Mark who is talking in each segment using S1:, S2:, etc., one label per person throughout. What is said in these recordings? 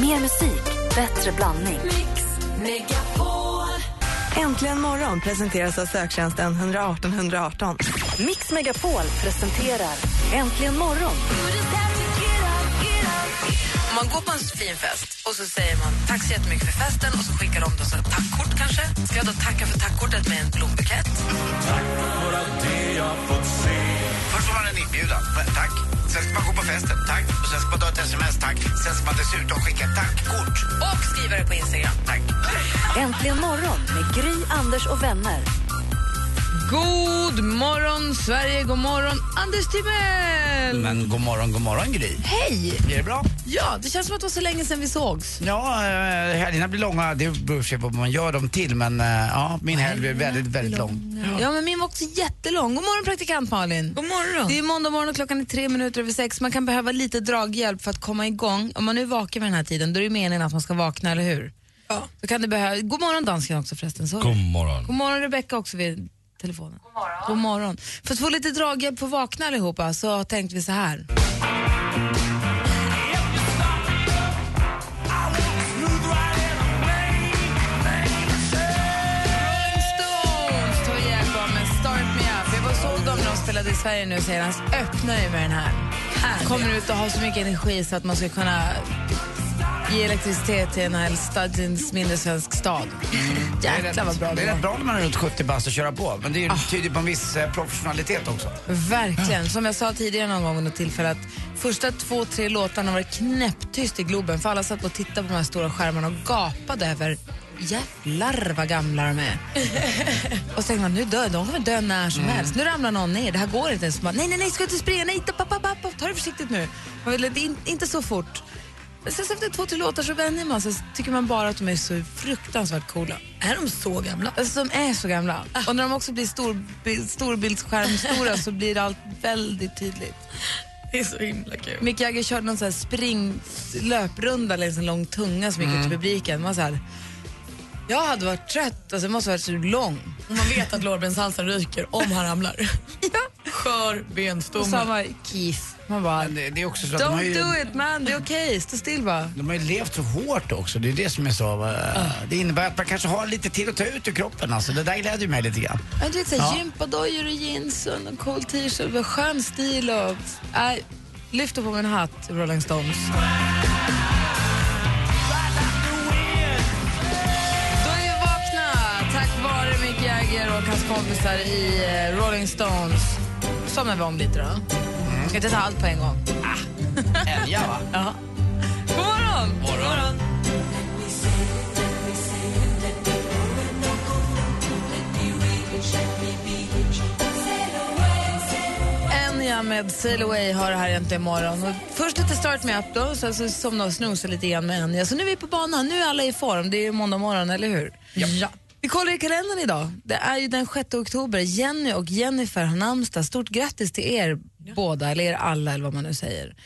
S1: Mer musik, bättre blandning.
S2: Äntligen morgon presenteras av söktjänsten 118 118.
S1: Mix Megapol presenterar Äntligen morgon.
S3: Om man går på en fin fest och så säger man tack så jättemycket för festen och så skickar de då så ett tackkort kanske. Ska jag då tacka för tackkortet med en blombukett?
S4: Först får man en inbjudan. Tack. Sen ska man gå på festen. Tack. Och sen ska man ta ett sms. Tack. Sen ska man dessutom skicka ett tackkort.
S3: Och skriva det på Instagram.
S4: Tack.
S1: Äntligen morgon med Gry, Anders och vänner.
S5: God morgon, Sverige! God morgon, Anders Timell!
S4: Men god morgon, god morgon Gry.
S5: Mm. Hej!
S4: Är det bra?
S5: Ja, det känns som att det var så länge sedan vi sågs.
S4: Ja, eh, helgerna blir långa. Det beror sig på vad man gör dem till. Men eh, ja, min helg blir väldigt, väldigt lång.
S5: Ja, men min var också jättelång. God morgon, praktikant Malin!
S3: God morgon.
S5: Det är måndag morgon och klockan är tre minuter över sex. Man kan behöva lite draghjälp för att komma igång. Om man nu vaknar vid den här tiden, då är det ju meningen att man ska vakna, eller hur? Ja. Då kan det behöva... God morgon, dansken också förresten. Så.
S6: God morgon.
S5: God morgon, Rebecka också vid telefonen. God morgon. God morgon. För att få lite draghjälp för att vakna allihopa så tänkte vi så här. Rolling Stones tog hjälp av med Start Me Up. Jag var och såg dem när de spelade i Sverige nu senast. Öppna ju med den här. Kommer ut och har så mycket energi så att man ska kunna ge elektricitet till en hel stad, till en mindre svensk stad. Jäklar vad bra
S4: Det
S5: det
S4: är rätt
S5: var. Ah.
S4: bra när man är runt 70 bast och köra på. Men det är ju tyder på en viss eh, professionalitet också.
S5: Verkligen. Som jag sa tidigare någon gång under tillfälle att första två, tre låtarna var det knäpptyst i Globen för alla satt och tittade på de här stora skärmarna och gapade över jävlar vad gamla de är. och så tänkte man, nu dör de, kommer dö när som helst. Nu ramlar någon ner, det här går inte ens. Man, nej, nej, nej, ska inte springa, nej, ta, papp, papp, papp, ta det försiktigt nu. Man vill, inte- in, inte så fort. Men Sen så efter två, tre låtar så vänjer man sig, så tycker man bara att de är så fruktansvärt coola.
S3: Är de så gamla?
S5: Alltså, de är så gamla.
S4: Ah.
S5: Och när de också blir stor, storbildsskärmstora så blir allt väldigt tydligt.
S3: Det är så himla kul.
S5: Mick Jagger körde någon sån här spring, löprunda längs en lång tunga som gick ut till
S4: Mm.
S5: publiken. Man var så här, jag hade varit trött, alltså, jag måste ha varit så lång.
S3: Man vet att lårbenshalsen ryker om han ramlar. ja. Skör
S5: Och så
S3: benstomme.
S5: var Keith. Man bara,
S4: Men det, det är också så att de har,
S5: don't
S4: ju,
S5: do it man, det är okej, stå still bara.
S4: de har ju levt så hårt också. Det är det som är så. eh, Det innebär att man kanske har lite till att ta ut ur kroppen. Alltså. Det där gläder ju mig lite grann.
S5: Men du vet såhär,
S4: Ja.
S5: gympadojor och jeans och en cool t-shirt och skön stil och... Nej, lyfter på min hatt, Rolling Stones. Då är vi vakna, tack vare Mick Jagger och hans kompisar i eh, Rolling Stones. Somnar vi om lite då. Ska inte ta allt på en gång.
S4: Mm. Ah. Älgar va?
S5: Ja. God morgon!
S4: morgon.
S5: Enya med Sail Away har det här egentligen imorgon. Och först lite start med upp då, sen så somnade och snosade lite igen med Enya. Så nu är vi på banan, nu är alla i form. Det är ju måndag morgon, eller hur? Ja. Vi kollar i kalendern idag. Det är ju den 6 oktober. Jenny och Jennifer har namnsdag. Stort grattis till er båda, eller er alla eller vad man nu säger.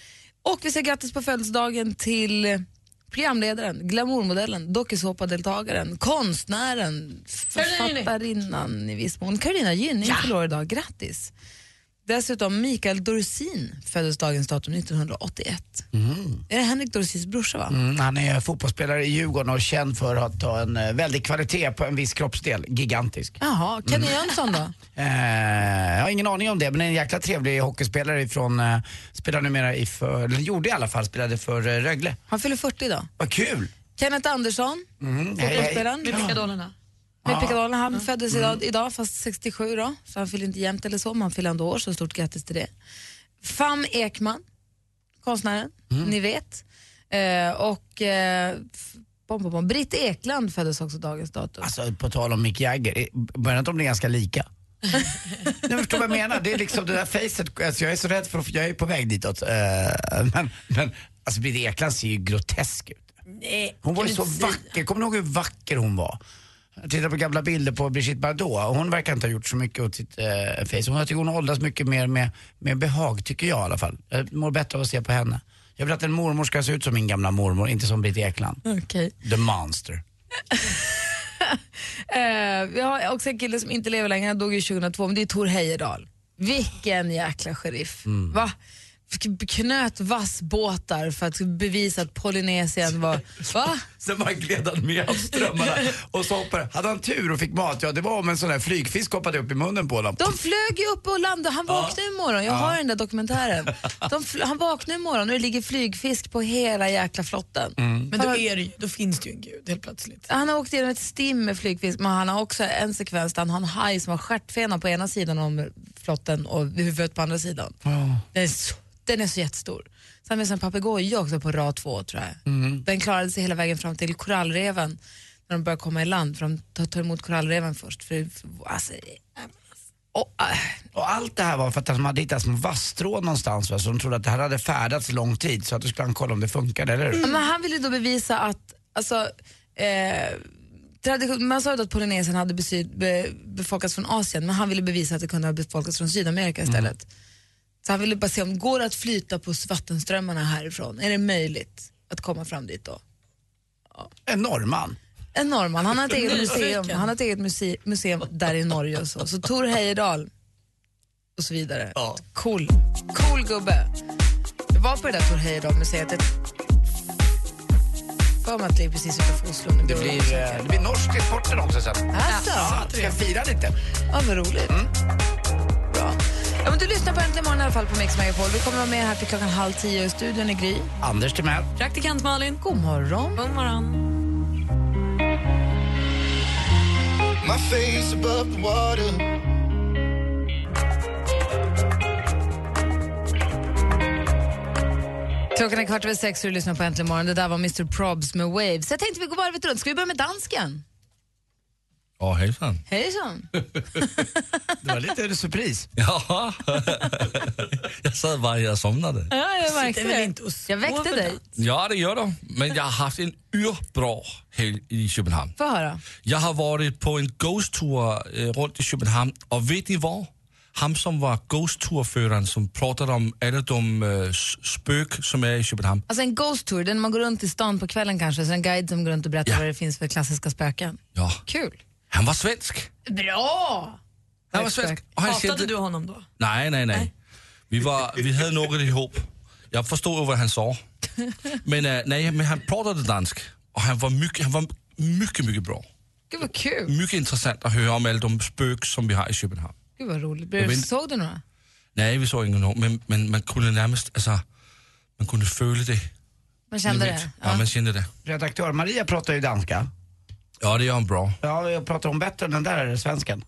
S5: Och vi säger grattis på födelsedagen till programledaren, glamourmodellen, dokusåpadeltagaren, konstnären, författarinnan i viss mån, Carolina Gynning fyller år idag. Grattis! Dessutom Mikael Dorsin föddes dagens datum 1981. Är det Henrik Dorsins brorsa va?
S4: Mm, han är fotbollsspelare i Djurgården och känd för att ta en eh, väldig kvalitet på en viss kroppsdel. Gigantisk.
S5: Jaha, Kenny Jönsson då?
S4: Eh, jag har ingen aning om det, men en jäkla trevlig hockeyspelare ifrån, eh, spelar numera i för, eller gjorde i alla fall, spelade för eh, Rögle.
S5: Han fyller 40 idag.
S4: Vad kul!
S5: Kenneth Andersson,
S4: Mm, hej, hej.
S5: fotbollsspelaren.
S3: Med pickadollerna.
S5: Med pickadollen. Han föddes
S4: Mm.
S5: idag, idag, fast 67 då. Så han fyller inte jämnt eller så, men han fyller ändå år, så stort grattis till det. Fam Ekman, konstnären,
S4: Mm.
S5: ni vet. Eh, och eh, f- bom, bom, bom. Britt Ekland föddes också dagens datum.
S4: Alltså på tal om Mick Jagger, eh, börjar inte de bli ganska lika? Nu förstår vad jag menar, det är liksom det där facet, alltså, jag är så rädd för att jag är på väg ditåt. Eh, men, men alltså Britt Ekland ser ju grotesk ut.
S3: Nej,
S4: Hon var
S3: kan
S4: ju så
S3: du inte säga.
S4: vacker. Kommer ni ihåg hur vacker hon var? Jag tittar på gamla bilder på Brigitte Bardot. Hon verkar inte ha gjort så mycket åt sitt eh, face. Hon, jag tycker hon har åldrats mycket mer med, med behag, tycker jag i alla fall. Jag mår bättre av att se på henne. Jag vill att en mormor ska se ut som min gamla mormor, inte som Britt Ekland.
S5: Okej.
S4: The monster.
S5: Eh, vi har också en kille som inte lever längre, han dog ju 2002, men det är Tor Heyerdahl. Vilken jäkla sheriff. Va? k- knöt vassbåtar för att bevisa att Polynesien var... Va?
S4: Sen bara gled han med av strömmarna och så hoppade Hade han tur och fick mat, ja det var om en sån där flygfisk hoppade upp i munnen på honom.
S5: De flög ju upp och landade. Han vaknade imorgon. Jag har den där dokumentären. De fl- han vaknade imorgon och det ligger flygfisk på hela jäkla flotten.
S6: Men då, är det, ju- då finns det ju en gud helt plötsligt.
S5: Han har åkt genom ett stim med flygfisk men han har också en sekvens där han har en haj som har stjärtfena på ena sidan om flotten och huvudet på andra sidan. Den, är så, den är så jättestor. Sen med en papegoja också på rad två tror jag. Den klarade sig hela vägen fram till korallreven när de börjar komma i land för de tar- tar emot korallreven först. För, för, alltså, och, äh,
S4: Och allt det här var för att de hade hittat små vasstrån någonstans va? så de trodde att det här hade färdats lång tid så att då skulle han kolla om det funkade, eller hur?
S5: Ja, Men han ville då bevisa att, alltså, eh, tradition, man sa ju då att Polynesien hade besyd, be, befolkats från Asien, men han ville bevisa att det kunde ha befolkats från Sydamerika
S4: Mm.
S5: istället. Så han ville bara se om går det att flyta på vattenströmmarna härifrån? Är det möjligt att komma fram dit då?
S4: En norrman.
S5: En norrman, han har ett eget museum,
S6: Nyfiken.
S5: han har ett eget muse- museum där i Norge och så. Så Tor Heyerdahl och så vidare.
S4: Ja.
S5: Cool, cool gubbe. Jag var på det där Tor Heyerdahl-museet. Jag för mig att det är precis utanför Oslo. Nu
S4: Det blir, eh, det blir norsk i sporten också sen.
S5: Alltså,
S4: Ja, Mm. ska jag fira lite.
S5: ja, vad roligt. Bra. Ja, men du lyssnar på Äntligen morgon i alla fall på Mix Megapol. Vi kommer vara med här till klockan halv tio i studion i Gry.
S4: Anders Timell.
S6: Praktikant Malin.
S5: God morgon.
S6: God morgon.
S7: My face above the water.
S5: Klockan är kvart över sex och du lyssnar på Äntligen morgon. Det där var Mr Probs med Waves. Jag tänkte vi går varvet runt. Ska vi börja med dansken?
S8: Ja, hejsan.
S5: Hejsan.
S4: Det var lite surpris.
S8: Ja. jag sad bara jag somnade.
S5: Ja, jag
S6: Det är väl inte att
S5: Jag
S6: sova
S5: väckte
S6: för
S5: dig.
S8: Ja, det gör du. Men jag har haft en urbra helg i Köpenhamn.
S5: Få höra.
S8: Jag har varit på en ghost tour eh, runt i Köpenhamn och vet ni var? Han som var ghost tour-föraren som pratade om alla de eh, s- spök som är i Köpenhamn.
S5: Alltså en ghost tour, den man går runt i stan på kvällen kanske, så en guide som går runt och berättar
S8: Ja.
S5: vad det finns för klassiska spöken.
S8: Ja,
S5: Kul.
S8: han var svensk.
S5: Bra!
S8: Han var svensk. Och han
S6: Hatade
S8: sände-
S6: du honom då?
S8: Nej, nej, nej. Vi, var, vi hade något ihop. Jag förstod ju vad han sa. Men, eh, nej, men han pratade dansk och han var mycket, han var mycket, mycket bra.
S5: Gud vad kul.
S8: Mycket intressant att höra om alla de spök som vi har i Köpenhamn.
S5: Gud vad roligt.
S8: Jag
S5: Blev,
S8: vet inte.
S5: såg du några?
S8: Nej, vi såg ingen hår, men, men man kunde närmast, alltså, man kunde följa det.
S5: Man kände
S8: Ni vet.
S5: det?
S8: Ja, man kände det.
S4: Redaktör Maria pratar ju danska.
S8: Ja, det gör han bra.
S4: Ja, jag pratar hon bättre än den där svensken?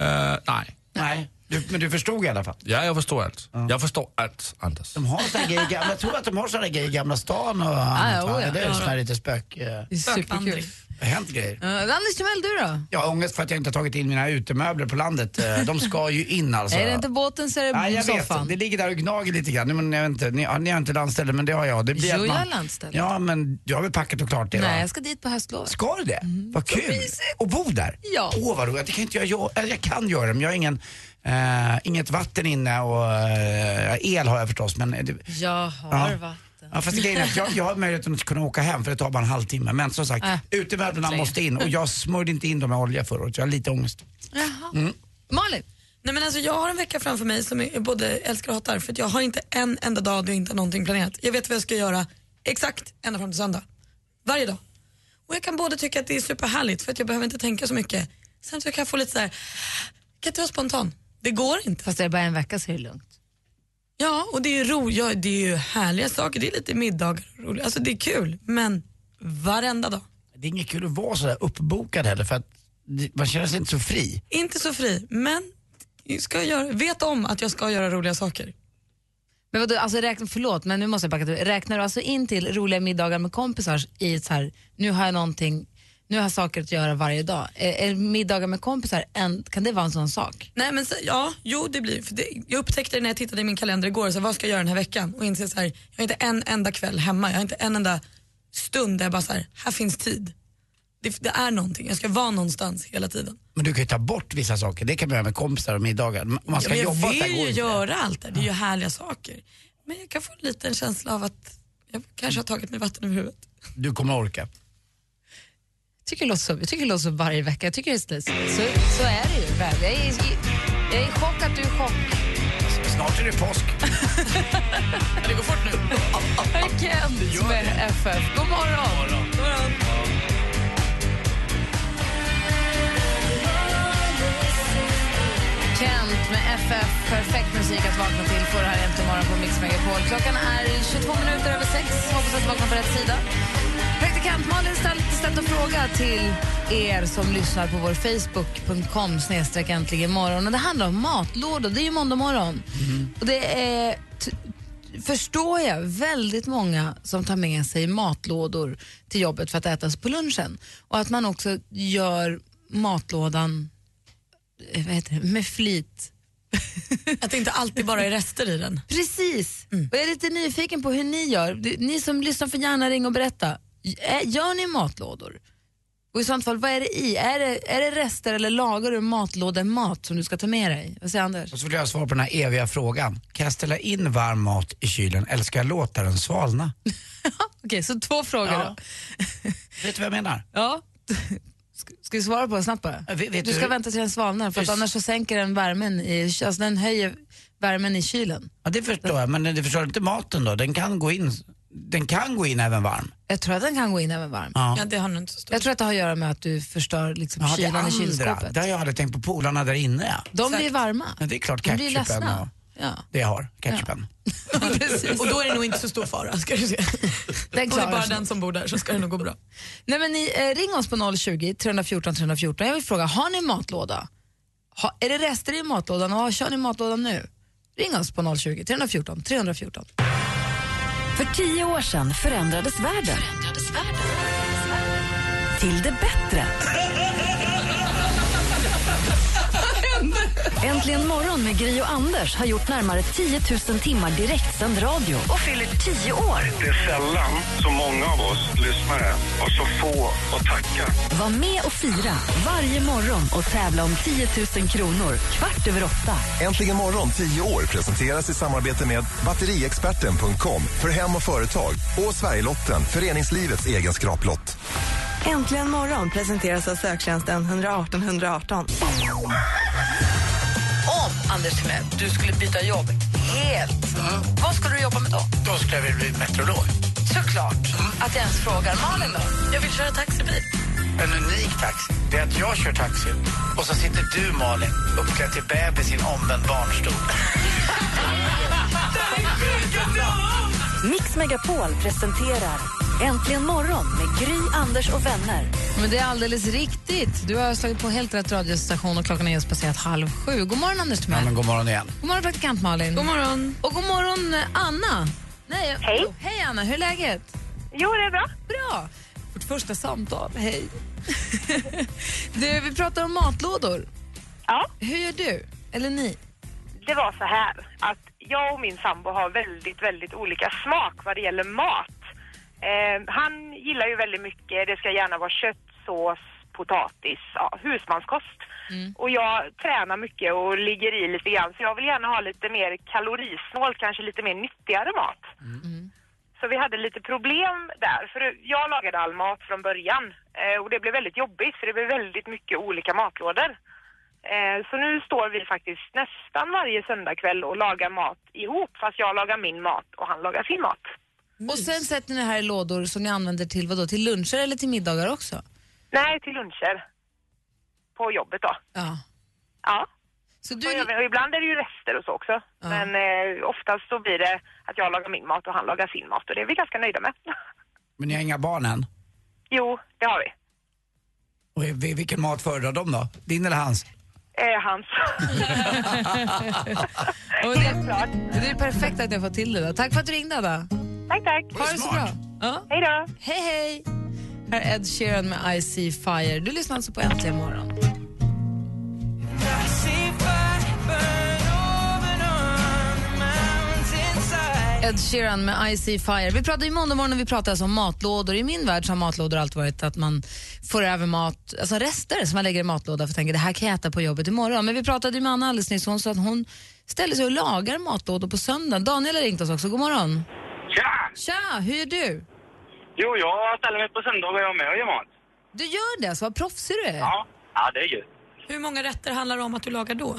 S8: Eh, nej,
S4: Nej. Du, men du förstod i alla fall.
S8: ja, jag förstår allt. Jag förstår allt, Anders.
S4: De har såna grejer i gamla, jag tror att de har såna grejer i Gamla stan och
S5: ja,
S4: annat.
S5: oh
S4: va?
S5: ja.
S4: Det är ju såna här lite spök... Eh,
S5: Det är superkul.
S6: Spökvandring.
S5: Uh,
S4: det har hänt grejer.
S5: Anders Timell, du då?
S4: Jag har ångest för att jag inte har tagit in mina utemöbler på landet. Eh, De ska ju in alltså.
S5: Är det inte båten så är det
S4: Nej, jag
S5: soffan.
S4: vet. Det ligger där och gnager lite grann. Nej, Men jag vet inte, ni, ja, ni har inte landställe, men det har jag. Det blir
S5: Jo,
S4: att
S5: jag
S4: man,
S5: har landställe.
S4: Ja, men jag har väl packat och klart det
S5: Nej,
S4: va?
S5: jag ska dit på höstlovet.
S4: Ska du det? Vad kul! Och bo där?
S5: Ja.
S4: Åh vad roligt. Det kan inte jag, göra. Eller jag kan göra det, men jag har ingen, eh, inget vatten inne och eh, el har jag förstås. Men det,
S5: Jag har vatten.
S4: Ja, fast grejen är att jag, jag har möjligheten att kunna åka hem för det tar bara en halvtimme. Men som sagt,
S5: Äh,
S4: utemöblerna
S5: verkligen.
S4: måste in och jag smörjde inte in dem med olja förra året. så Jag har lite ångest.
S5: Malin,
S6: Nej, men alltså, jag har en vecka framför mig som jag både älskar och hatar för att jag har inte en enda dag då jag inte har någonting planerat. Jag vet vad jag ska göra exakt ända fram till söndag. Varje dag. Och jag kan både tycka att det är superhärligt för att jag behöver inte tänka så mycket. Sen så kan jag få lite så här, kan inte vara spontan. Det går inte.
S5: fast det är bara en vecka så är det lugnt.
S6: Ja, och det är ju ro, ja, det är ju härliga saker. Det är lite middagar och roligt. Alltså det är kul, men varenda dag.
S4: Det är inget kul att vara sådär uppbokad heller för att det- man känner sig inte så fri.
S6: Inte så fri, men ska jag göra, vet om att jag ska göra roliga saker.
S5: Men vadå, alltså räkna, förlåt men nu måste jag backa till. Räknar du alltså in till roliga middagar med kompisar i ett så här, nu har jag någonting, nu har jag saker att göra varje dag. Är, är middagar med kompisar, en, kan det vara en sån sak?
S6: Nej men så, ja, jo det blir för det, Jag upptäckte det när jag tittade i min kalender igår, så här, vad ska jag göra den här veckan? Och inser så här, jag har inte en enda kväll hemma, jag har inte en enda stund där jag bara så här, här finns tid. Det, det är någonting, jag ska vara någonstans hela tiden.
S4: Men du kan ju ta bort vissa saker. Det kan man göra med kompisar och middagar. Om Man
S6: Ja,
S4: ska
S6: men jag
S4: jobba så här
S6: vill
S4: går
S6: ju
S4: inte.
S6: göra allt det här, det är ju härliga saker. Men jag kan få en liten känsla av att jag kanske har tagit mig vatten över huvudet.
S4: Du kommer orka.
S5: Jag tycker det låter som, jag tycker det låter som varje vecka. Jag tycker det är så, så, så är det ju. väl. Jag är, jag är i chock att du är i chock.
S4: Snart är det påsk.
S3: Det går fort nu.
S5: Här är Kent med FF. God morgon! Kent med FF. Perfekt musik att vakna till. Får det här äntligen morgon på Mix Megapol. Klockan är 22 minuter över sex. Hoppas att du vaknar på rätt sida. Praktikant Malin ställt, ställt en fråga till er som lyssnar på vår Facebook.com snedstreck äntligen morgon. Och det handlar om matlådor. Det är ju måndag morgon. Och det är t- förstår jag väldigt många som tar med sig matlådor till jobbet för att ätas på lunchen. Och att man också gör matlådan eh, vad heter det, med flit.
S6: Att det inte alltid bara är rester i den.
S5: Precis! Och jag är lite nyfiken på hur ni gör. Du- Ni som lyssnar får gärna ringa och berätta. Ä- Gör ni matlådor? Och i sånt fall, vad är det i? Är det, är det rester eller lagar du matlådemat som du ska ta med dig? Vad säger Anders?
S4: Och så vill jag svara på den här eviga frågan. Kan jag ställa in varm mat i kylen eller ska jag låta den svalna?
S5: Okej, så två frågor
S4: Ja.
S5: då.
S4: Vet du vad jag menar?
S5: Ja. Ska- Ska vi svara på det snabbt bara?
S4: Ja, vet- vet
S5: du
S4: du-
S5: ska vänta till den svalnar för att
S4: Hur-
S5: annars så sänker den värmen i, alltså den höjer värmen i kylen.
S4: Ja, det förstår jag, men det förstår inte maten då? Den kan gå in, den kan gå in även varm.
S5: Jag tror att den kan gå in även varm.
S4: Ja.
S6: Ja, det har nog inte så stor
S5: Jag tror att det har att göra med att du förstör liksom
S4: Ja, det
S5: kylan i
S4: andra,
S5: kylskåpet.
S4: där jag hade tänkt på polarna där inne ja.
S5: De blir varma.
S4: Men det är klart
S5: De blir
S4: ketchupen och
S5: ledsna. Ja,
S4: det jag har, ketchupen.
S5: precis.
S6: Och då är det nog inte så stor fara. Ska du se.
S5: Den
S6: Om det är
S5: klarar
S6: bara
S5: sig.
S6: den som bor där så ska det nog gå bra.
S5: Nej, men ni, eh, ring oss på 020 314 314. Jag vill fråga, har ni matlåda? Ha, är det rester i matlådan och kör ni matlådan nu? Ring oss på 020 314 314.
S1: För tio år sedan förändrades världen. Till det bättre. Äntligen morgon med Gry och Anders har gjort närmare 10 000 timmar direktsänd radio och fyller 10 år.
S9: Det är sällan så många av oss lyssnare har så få att tacka.
S1: Var med och fira varje morgon och tävla om 10 000 kronor kvart över åtta.
S10: Äntligen morgon 10 år presenteras i samarbete med batteriexperten.com för hem och företag och Sverigelotten, föreningslivets egen skraplott.
S2: Äntligen morgon presenteras av söktjänsten 118 118.
S3: Om, Anders Timell, du skulle byta jobb helt, vad skulle du jobba med då?
S4: Då ska jag väl bli meteorolog.
S3: Såklart att jag ens frågar. Malin då? Jag vill köra taxibil.
S4: En unik taxi, det är att jag kör taxi och så sitter du Malin uppklädd till bebis i en omvänd barnstol.
S1: Mix Megapol presenterar Äntligen morgon med Gry, Anders och vänner.
S5: Men det är alldeles riktigt. Du har slagit på helt rätt radiostation och klockan är just passerat halv sju. God morgon Anders
S4: Ja,
S5: Timell.
S4: men god morgon igen.
S5: God morgon praktikant Malin.
S6: God morgon.
S5: Och god morgon eh, Anna. Nej,
S11: Hej.
S5: oh, hej Anna, hur är läget?
S11: Jo, det är bra.
S5: Bra. Vårt första samtal, hej. du, vi pratar om matlådor.
S11: Ja,
S5: Hur gör du? Eller ni?
S11: det var så här att jag och min sambo har väldigt, väldigt olika smak vad det gäller mat. Eh, han gillar ju väldigt mycket, det ska gärna vara kött, sås, potatis, ja, husmanskost. Och jag tränar mycket och ligger i lite grann så jag vill gärna ha lite mer kalorisnålt, kanske lite mer nyttigare mat. Så vi hade lite problem där, för jag lagade all mat från början eh, och det blev väldigt jobbigt för det blev väldigt mycket olika matlådor. Eh, Så nu står vi faktiskt nästan varje söndagkväll och lagar mat ihop, fast jag lagar min mat och han lagar sin mat.
S5: Och sen sätter ni det här i lådor som ni använder till vad då? Till luncher eller till middagar också?
S11: Nej, till luncher. På jobbet då.
S5: Ja.
S11: Ja.
S5: Så
S11: Och,
S5: du,
S11: jag- och ibland är det ju rester och så också.
S5: Ja.
S11: Men eh, oftast så blir det att jag lagar min mat och han lagar sin mat och det är vi ganska nöjda med.
S4: Men ni har inga barn än?
S11: Jo, det har vi.
S4: Och vi- vilken mat föredrar de då? Din eller hans?
S11: Eh, hans.
S5: och det,
S11: Helt klart.
S5: det är perfekt att jag får till det då. Tack för att du ringde Anna.
S11: Tack, tack.
S5: Ha det så bra. Ja.
S11: Hej då.
S5: Hej, hej! Här är Ed Sheeran med I see fire. Du lyssnar alltså på Äntligen morgon. Ed Sheeran med I see fire. Vi pratade ju måndag morgon och vi pratade alltså om matlådor. I min värld så har matlådor alltid varit att man får över mat, alltså rester som man lägger i matlåda för att tänka det här kan jag äta på jobbet imorgon. Men vi pratade ju med Anna alldeles nyss och hon sa att hon ställer sig och lagar matlådor på söndagen. Daniel har ringt oss också. God morgon.
S9: Tja!
S5: Tja, hur är du?
S9: Jo, jag ställer mig på söndagar och jag är med och gör mat.
S5: Du gör det? Så vad proffsig du är.
S9: Ja, ja det är ju.
S6: Hur många rätter handlar det om att du lagar då?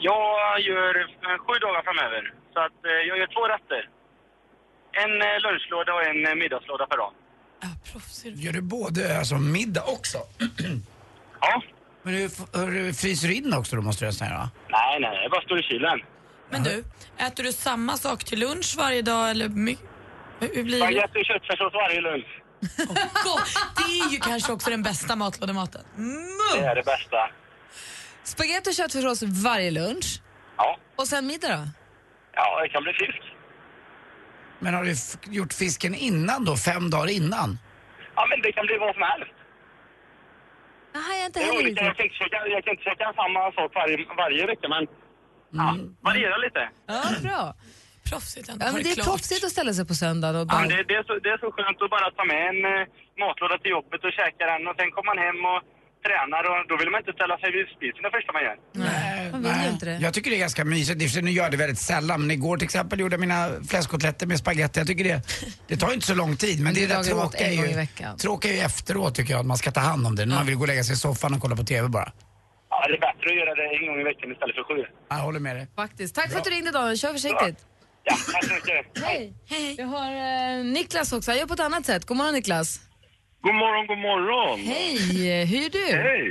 S12: Jag gör eh, sju dagar framöver. Så att eh, jag gör två rätter. En eh, lunchlåda och en eh, middagslåda per dag.
S4: Gör du både alltså, middag också?
S12: ja.
S4: Men du, f- hur, fryser du in också då måste jag säga va?
S12: Nej, nej, jag bara står i kylen.
S6: Men du, äter du samma sak till lunch varje dag eller my- hur blir det?
S12: Spagetti och köttfärssås varje lunch.
S6: Gott. Det är ju kanske också den bästa matlådematen.
S12: Det är det bästa.
S5: Spagetti och köttfärssås varje lunch.
S12: Ja.
S5: Och sen middag då?
S12: Ja, det kan bli fisk.
S4: Men har du f- gjort fisken innan då, fem dagar innan?
S12: Ja, men det kan bli vad som helst.
S5: Aha, jag har inte
S12: Det är
S5: heller
S12: olika. Jag
S5: riktigt.
S12: kan inte käka, jag kan inte käka samma sak varje, varje vecka, men
S9: Mm.
S12: ja, variera lite.
S5: Ja, bra.
S6: Proffsigt ändå.
S5: Ja, men det är
S12: klart.
S5: proffsigt att ställa sig på söndagen och
S12: Ja, men
S5: bara...
S12: det, det, är så, det är så skönt att bara ta med en eh, matlåda till jobbet och käka den och sen kommer man hem och tränar och då vill man inte ställa sig vid spisen det första man gör.
S4: Man vill ju inte det. Äh, Jag tycker det är ganska mysigt. I och för sig, Nu gör jag det väldigt sällan, men igår till exempel gjorde jag mina fläskkotletter med spagetti. Jag tycker det, det tar ju inte så lång tid, men det är
S5: Du
S4: det
S5: lagar mat
S4: tråkiga
S5: en gång i
S4: är ju,
S5: veckan.
S4: tråkiga är ju efteråt tycker jag, att man ska ta hand om det. När man vill gå och lägga sig i soffan och kolla på TV bara.
S12: Ja, det är bättre att göra det en gång i veckan istället för sju.
S4: Jag håller med dig.
S5: Faktiskt. Tack för att du ringde Daniel, kör försiktigt.
S12: Ja, tack så mycket.
S5: Hej. Hej. Jag har eh, Niklas också, jag gör på ett annat sätt. God morgon Niklas.
S13: God morgon, god morgon!
S5: Hej, hur är du?
S13: Hej!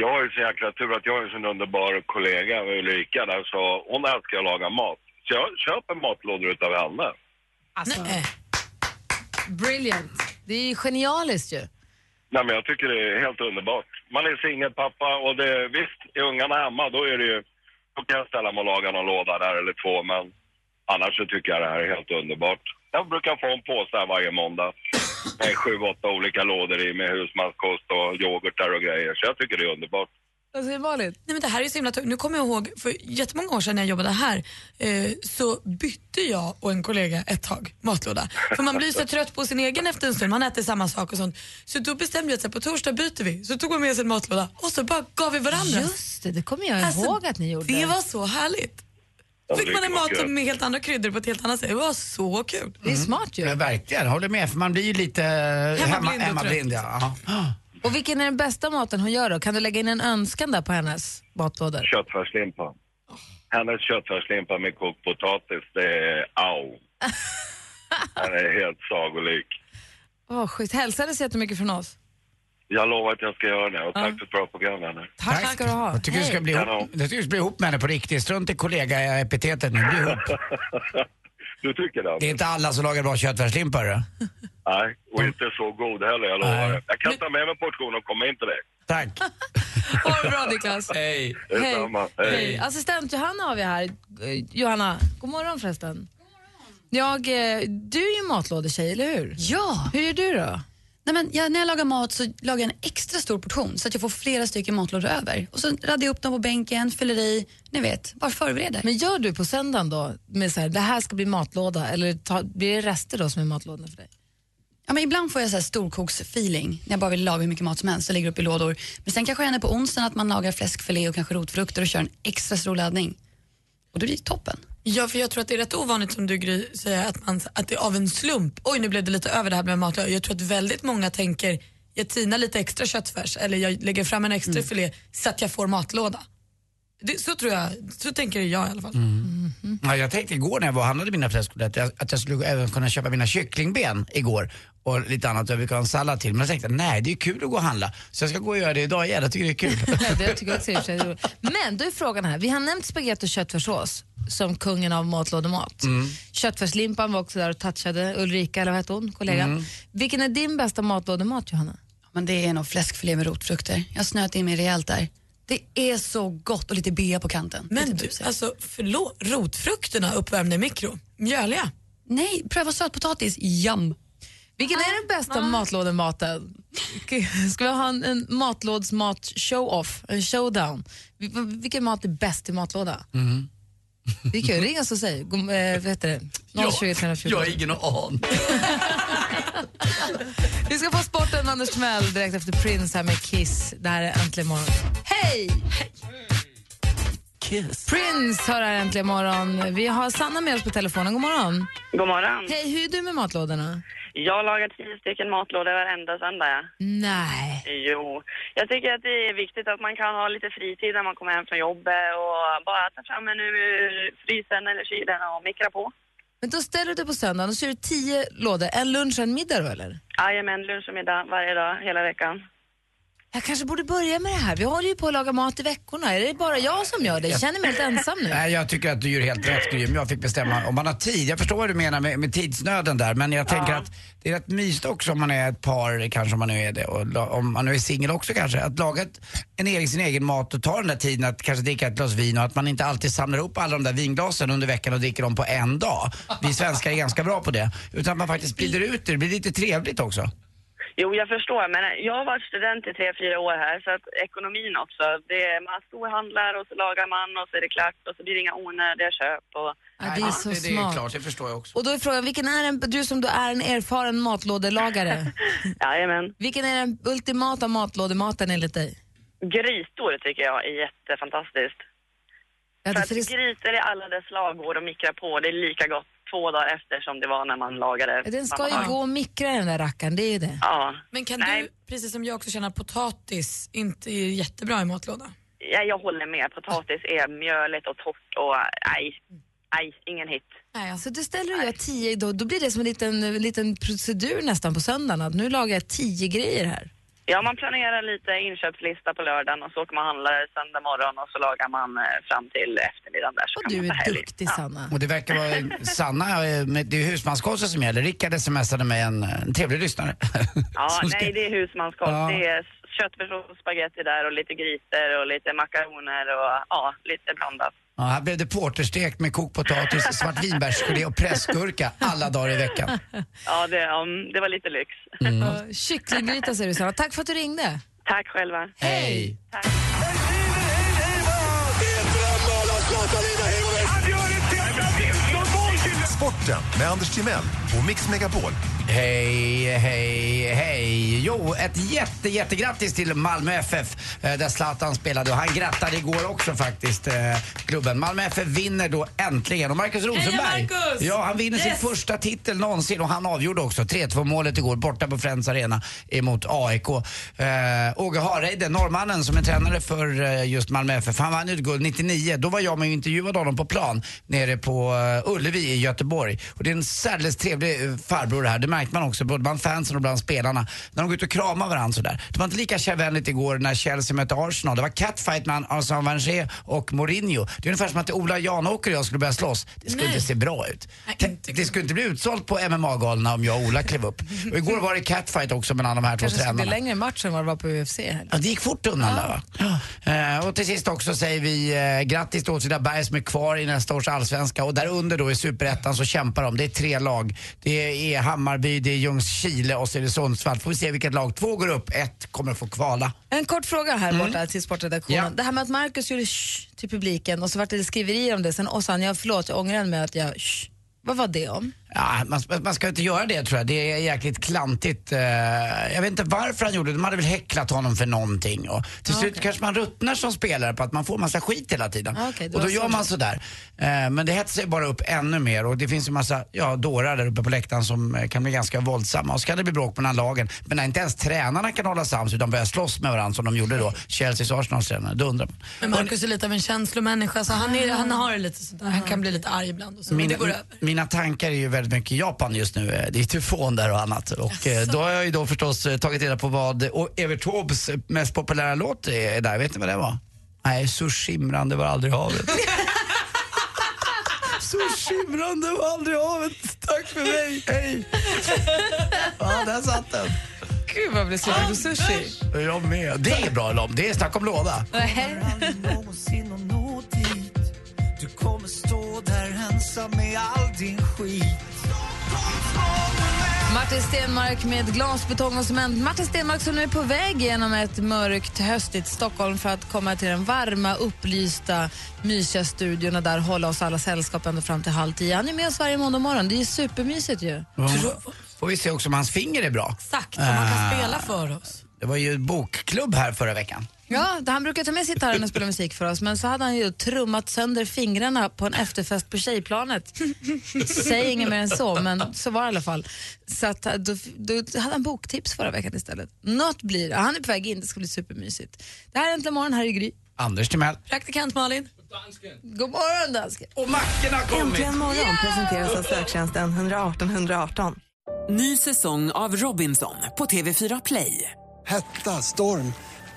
S13: Jag har ju så jäkla tur att jag har en sån underbar kollega, Ulrika, där, så hon älskar att laga mat. Så jag köper matlådor utav henne.
S5: Alltså. Brilliant. Det är ju genialiskt ju. Alltså,
S13: Nej men jag tycker det är helt underbart. Man är singelpappa och det, visst, är ungarna hemma då är det ju, då kan jag ställa mig och laga någon låda där eller två men annars så tycker jag det här är helt underbart. Jag brukar få en påse här varje måndag med sju, åtta olika lådor i med husmanskost och yoghurtar och grejer så jag tycker det är underbart.
S5: Vad säger Malin?
S6: Nej, men det här är ju så himla tungt. Nu kommer jag ihåg, för jättemånga år sedan när jag jobbade här eh, så bytte jag och en kollega ett tag matlåda. För man blir så trött på sin egen efter en stund, man äter samma sak och sånt. Så då bestämde jag att så här, på torsdag byter vi. Så tog man med sig en matlåda och så bara gav vi varandra.
S5: Just det, det kommer jag ihåg att ni gjorde.
S6: Det var så härligt.
S13: Ja,
S6: fick
S13: det
S6: man en
S13: var
S6: mat
S13: kul.
S6: som med helt andra kryddor på ett helt annat sätt. Det var så kul.
S5: Det är smart ju.
S12: Mm.
S4: Ja, verkligen, håller med. För man blir ju lite
S6: och
S4: hemma,
S6: trött.
S4: hemmablind. Ja. Ja.
S5: Och vilken är den bästa maten hon gör då? Kan du lägga in en önskan där på hennes matlådor?
S13: Köttfärslimpa. Hennes köttfärslimpa med kokt potatis, det är au. Den är helt sagolik.
S5: Åh, oh, schysst. Hälsades jättemycket från oss.
S13: Jag lovar att jag ska göra det och tack för ett bra program vänner.
S5: Tack, ska du ha.
S4: Jag tycker du ska
S5: Hej.
S4: bli ihop, jag tycker du ska bli ihop med henne på riktigt. Strunt i kollega-epitetet nu. Bli ihop.
S13: Du tycker det? alltså?
S4: Det är inte alla som lagar bra köttfärslimpa. hörru.
S13: Nej, och inte så god heller, jag lovar. det. Jag kan ta med mig portion och komma in till dig.
S4: Tack.
S5: Ha det bra Niklas. Hej.
S13: Detsamma. Hej.
S5: Hej. Assistent Johanna har vi här. Eh, Johanna, god morgon förresten. Jag, eh, du är ju matlådetjej, eller hur?
S14: Ja.
S5: Hur gör du då?
S14: Nej, men jag, när jag lagar mat så lagar jag en extra stor portion så att jag får flera stycken matlådor över. Och så raddar jag upp dem på bänken, fyller i, ni vet, bara förbereder.
S5: Men gör du på söndagen då, med så här, det här ska bli matlåda, eller ta, blir det rester då som är matlådorna för dig?
S14: Ja, men ibland får jag så här storkoksfeeling när jag bara vill laga hur mycket mat som helst och lägger upp i lådor. Men sen kanske jag händer på onsdagen att man lagar fläskfilé och kanske rotfrukter och kör en extra stor laddning. Och det blir toppen.
S6: Ja, för jag tror att det är rätt ovanligt som du Gry säger att, man, att det är av en slump, oj nu blev det lite över det här med mat. Jag tror att väldigt många tänker, jag tinar lite extra köttfärs eller jag lägger fram en
S14: Mm.
S6: extra filé så att jag får matlåda. Det, så tror jag, så tänker jag i alla fall.
S14: Mm.
S4: Ja, jag tänkte igår när jag var och handlade mina fläskkotletter att jag- att jag skulle även kunna köpa mina kycklingben igår och lite annat. Jag brukar ha en sallad till. Men jag tänkte nej, det är kul att gå och handla. Så jag ska gå och göra det idag igen. Jag tycker det är kul.
S5: Ja, det tycker jag också är i och för sig roligt. Men då är frågan här, vi har nämnt spagetti och köttfärssås som kungen av matlådemat.
S1: Mm.
S5: Köttfärslimpan var också där och touchade Ulrika, eller vad hette hon, kollegan.
S14: Mm.
S5: Vilken är din bästa matlådemat Johanna?
S14: Ja, men det är nog fläskfilé med rotfrukter. Jag har snöat in mig rejält där. Det är så gott och lite typ bea på kanten.
S6: Men du, alltså förlåt, rotfrukterna uppvärmda i mikro, mjöliga.
S14: Nej, pröva sötpotatis, yum.
S5: Vilken är den bästa matlådematen? Ska vi ha en, en matlådsmat show-off, en showdown? Vil- Vilken mat är bäst i matlåda?
S4: Mm.
S5: Det är kul, ring oss och säg. God- eh, Vad heter det? 020 314.
S4: ingen aning.
S5: Vi ska få sporten med Anders Timell direkt efter Prince här med Kiss. Det här är Äntligen morgon. Hej! Prince hör här Äntligen morgon. Vi har Sanna med oss på telefonen. God morgon.
S15: God morgon.
S5: Hej, hur är du med matlådorna?
S15: Jag lagar tio stycken matlådor varenda söndag. ja.
S5: Nej.
S15: Jo, jag tycker att det är viktigt att man kan ha lite fritid när man kommer hem från jobbet och bara ta fram en ur frysen eller kylen och mikra på.
S5: Men då ställer du dig på söndagen och så är det tio lådor. En lunch och en middag då eller?
S15: Jajamän, lunch och middag varje dag hela veckan.
S5: Jag kanske borde börja med det här. Vi håller ju på att laga mat i veckorna. Är det bara jag som gör det? Jag känner mig helt ensam nu.
S4: Nej, jag tycker att du gör helt rätt Gry, om jag fick bestämma. Om man har tid, jag förstår vad du menar med, med tidsnöden där, men jag tänker att det är rätt mysigt också om man är ett par, kanske om man nu är det, och la- om man nu är singel också kanske, att laga ett, en egen, sin egen mat och ta den där tiden att kanske dricka ett glas vin och att man inte alltid samlar ihop alla de där vinglasen under veckan och dricker dem på en dag. Vi svenskar är ganska bra på det. Utan att man faktiskt sprider ut det, det blir lite trevligt också.
S15: Jo, jag förstår, men jag har varit student i tre, fyra år här, så att ekonomin också. Det är, man storhandlar och så lagar man och så är det klart och så blir det inga onödiga köp. Och,
S5: Ja, det är så
S4: det, det är
S5: smart.
S4: klart, det förstår jag också.
S5: Och då är frågan, vilken är en, du som du är en erfaren matlådelagare,
S15: Jajamän.
S5: vilken är den ultimata matlådematen enligt dig?
S15: Grytor tycker jag är jättefantastiskt. för att grytor i alla dess slag går att mikra på. Det är lika gott två dagar efter som det var när man lagade.
S5: Den ska
S15: samma
S5: ju
S15: dag.
S5: gå och mikra den där rackaren, det är ju det.
S15: Ja.
S6: Men kan du, precis som jag också känner att potatis inte är jättebra i matlåda?
S15: ja, jag håller med. Potatis är mjöligt och torrt och nej, nej, ingen hit.
S5: Så du Alltså, ställer du gör tio, då, då blir det som en liten, en liten procedur nästan på söndagen, att nu lagar jag tio grejer här.
S15: Ja, man planerar lite inköpslista på lördagen och så åker man handlar söndag morgon och så lagar man eh, fram till eftermiddagen där. Så och kan
S5: Du
S15: man ta
S5: är
S15: helg.
S5: duktig Sanna.
S4: Och det verkar vara Sanna, eh, med- det är husmanskonsten som gäller. Rickard smsade mig en, en trevlig lyssnare.
S15: Ja,
S4: Som ska-
S15: nej, det är husmanskost.
S4: Ja.
S15: Det är köttfärssås och spagetti där och lite grytor och lite makaroner och ja, lite blandat.
S4: Ja, här blev det porterstek med kokpotatis, svart vinbärsgelé och pressgurka alla dagar i veckan.
S15: Ja, det, um, det var lite lyx.
S5: Ja, Kycklinggryta säger du Sanna. Tack för att du ringde.
S15: Tack själva.
S4: Hej!
S10: Sporten med Anders Timell och Mix Megapol.
S4: Hej, hej, hej. Jo, ett jätte, jättegrattis till Malmö FF eh, där Zlatan spelade och han grattade igår också faktiskt eh, klubben. Malmö FF vinner då äntligen och Marcus Rosenberg,
S16: Marcus!
S4: ja han vinner
S16: Yes!
S4: sin första titel någonsin och han avgjorde också 3-2 målet igår borta på Friends Arena emot AIK. Eh, Åge Hareide, norrmannen som är tränare för eh, just Malmö FF, han vann ju ett guld 99. Då var jag med och intervjuade honom på plan nere på eh, Ullevi i Göteborg. Och det är en särdeles trevlig eh, farbror det här, det märkte man också både bland fansen och bland spelarna. När de går ut och kramar varandra sådär. Det var inte lika kärvänligt igår när Chelsea mötte Arsenal. Det var catfight mellan Arsene Wenger och Mourinho. Det är ungefär som att Ola Janåker och jag skulle börja slåss. Det skulle
S16: Nej.
S4: inte se bra ut. Tänk, det skulle inte bli utsålt på MMA-galorna om jag och Ola klev upp. Och igår var det catfight också mellan de här två
S5: Kanske ska bli
S4: tränarna.
S5: längre match än vad det var på UFC. här.
S4: Ja, det gick fort undan där va? Eh, och till sist också säger vi eh, grattis till Åtvidaberg som är kvar i nästa års allsvenska och där under då i superettan så kämpar de. Det är tre lag. Det är Hammarby, det är Ljungskile och så är det Sundsvall. Får vi se vilket lag. Två går upp, ett kommer att få kvala.
S5: En kort fråga här borta till sportredaktionen.
S4: Ja.
S5: Det här med att Marcus gjorde shh till publiken och så vart det skriverier om det sen. Och Sanna, jag förlåt, jag ångrar mig att jag shh. Vad var det om?
S4: Ja, man, man ska inte göra det tror jag. Det är jäkligt klantigt. eh, Jag vet inte varför han gjorde det. De hade väl häcklat honom för någonting. Och till slut kanske man ruttnar som spelare på att man får massa skit hela tiden.
S5: Ja, okej, det
S4: och då
S5: var
S4: gör
S5: så.
S4: man sådär. Eh, Men det hetsar ju bara upp ännu mer. Och det finns ju massa ja, dårar där uppe på läktaren som eh, kan bli ganska våldsamma. Och så kan det bli bråk mellan lagen. Men när inte ens tränarna kan hålla sams utan börjar slåss med varandra som de gjorde då. Chelseas och Arsenals tränare. Då undrar man.
S6: Men Marcus är lite av en känslomänniska så han, är, han har det lite sådär. Han kan bli lite arg ibland och så. Men det
S4: Mina,
S6: går över.
S4: mina tankar är ju väldigt mycket i Japan just nu. Eh, Det är tyfon där och annat. Och eh, då har jag ju då förstås eh, tagit reda på vad och Evert Taubes eh, mest populära låt är där. Vet ni vad det var? Nej, så skimrande var aldrig havet. Så skimrande var aldrig havet. Tack för mig. Hej. Ja, där satt den.
S5: Gud vad jag blev sugen på sushi.
S4: Jag med. Det är bra låt. Det är snack om låda.
S16: Du kommer stå där ensam med all din skit
S5: Martin Stenmark med glas, betong och cement. Martin Stenmark som nu är på väg genom ett mörkt höstigt Stockholm för att komma till den varma, upplysta, mysiga studion och där hålla oss alla sällskap ända fram till halv tio. Han är med oss varje måndag morgon. Det är ju supermysigt ju.
S4: Får vi se också om hans finger är bra.
S6: Exakt, om man kan
S4: Eh,
S6: spela för oss.
S4: Det var ju bokklubb här förra veckan.
S5: Ja, han brukar ta med gitarren och spela musik för oss, men så hade han ju trummat sönder fingrarna på en efterfest på tjejplanet. Säg inget mer än så, men så var det i alla fall. Så att, då, då hade han boktips förra veckan istället. Något blir det. Han är på väg in, det ska bli supermysigt. Det här är Äntligen morgon, här är Gry.
S4: Anders Timell.
S5: Praktikant Malin. God morgon, dansken.
S4: Och macken har
S17: Äntligen morgon presenteras av söktjänsten 118 118.
S2: Ny säsong av Robinson på TV4 Play.
S18: Hetta, storm,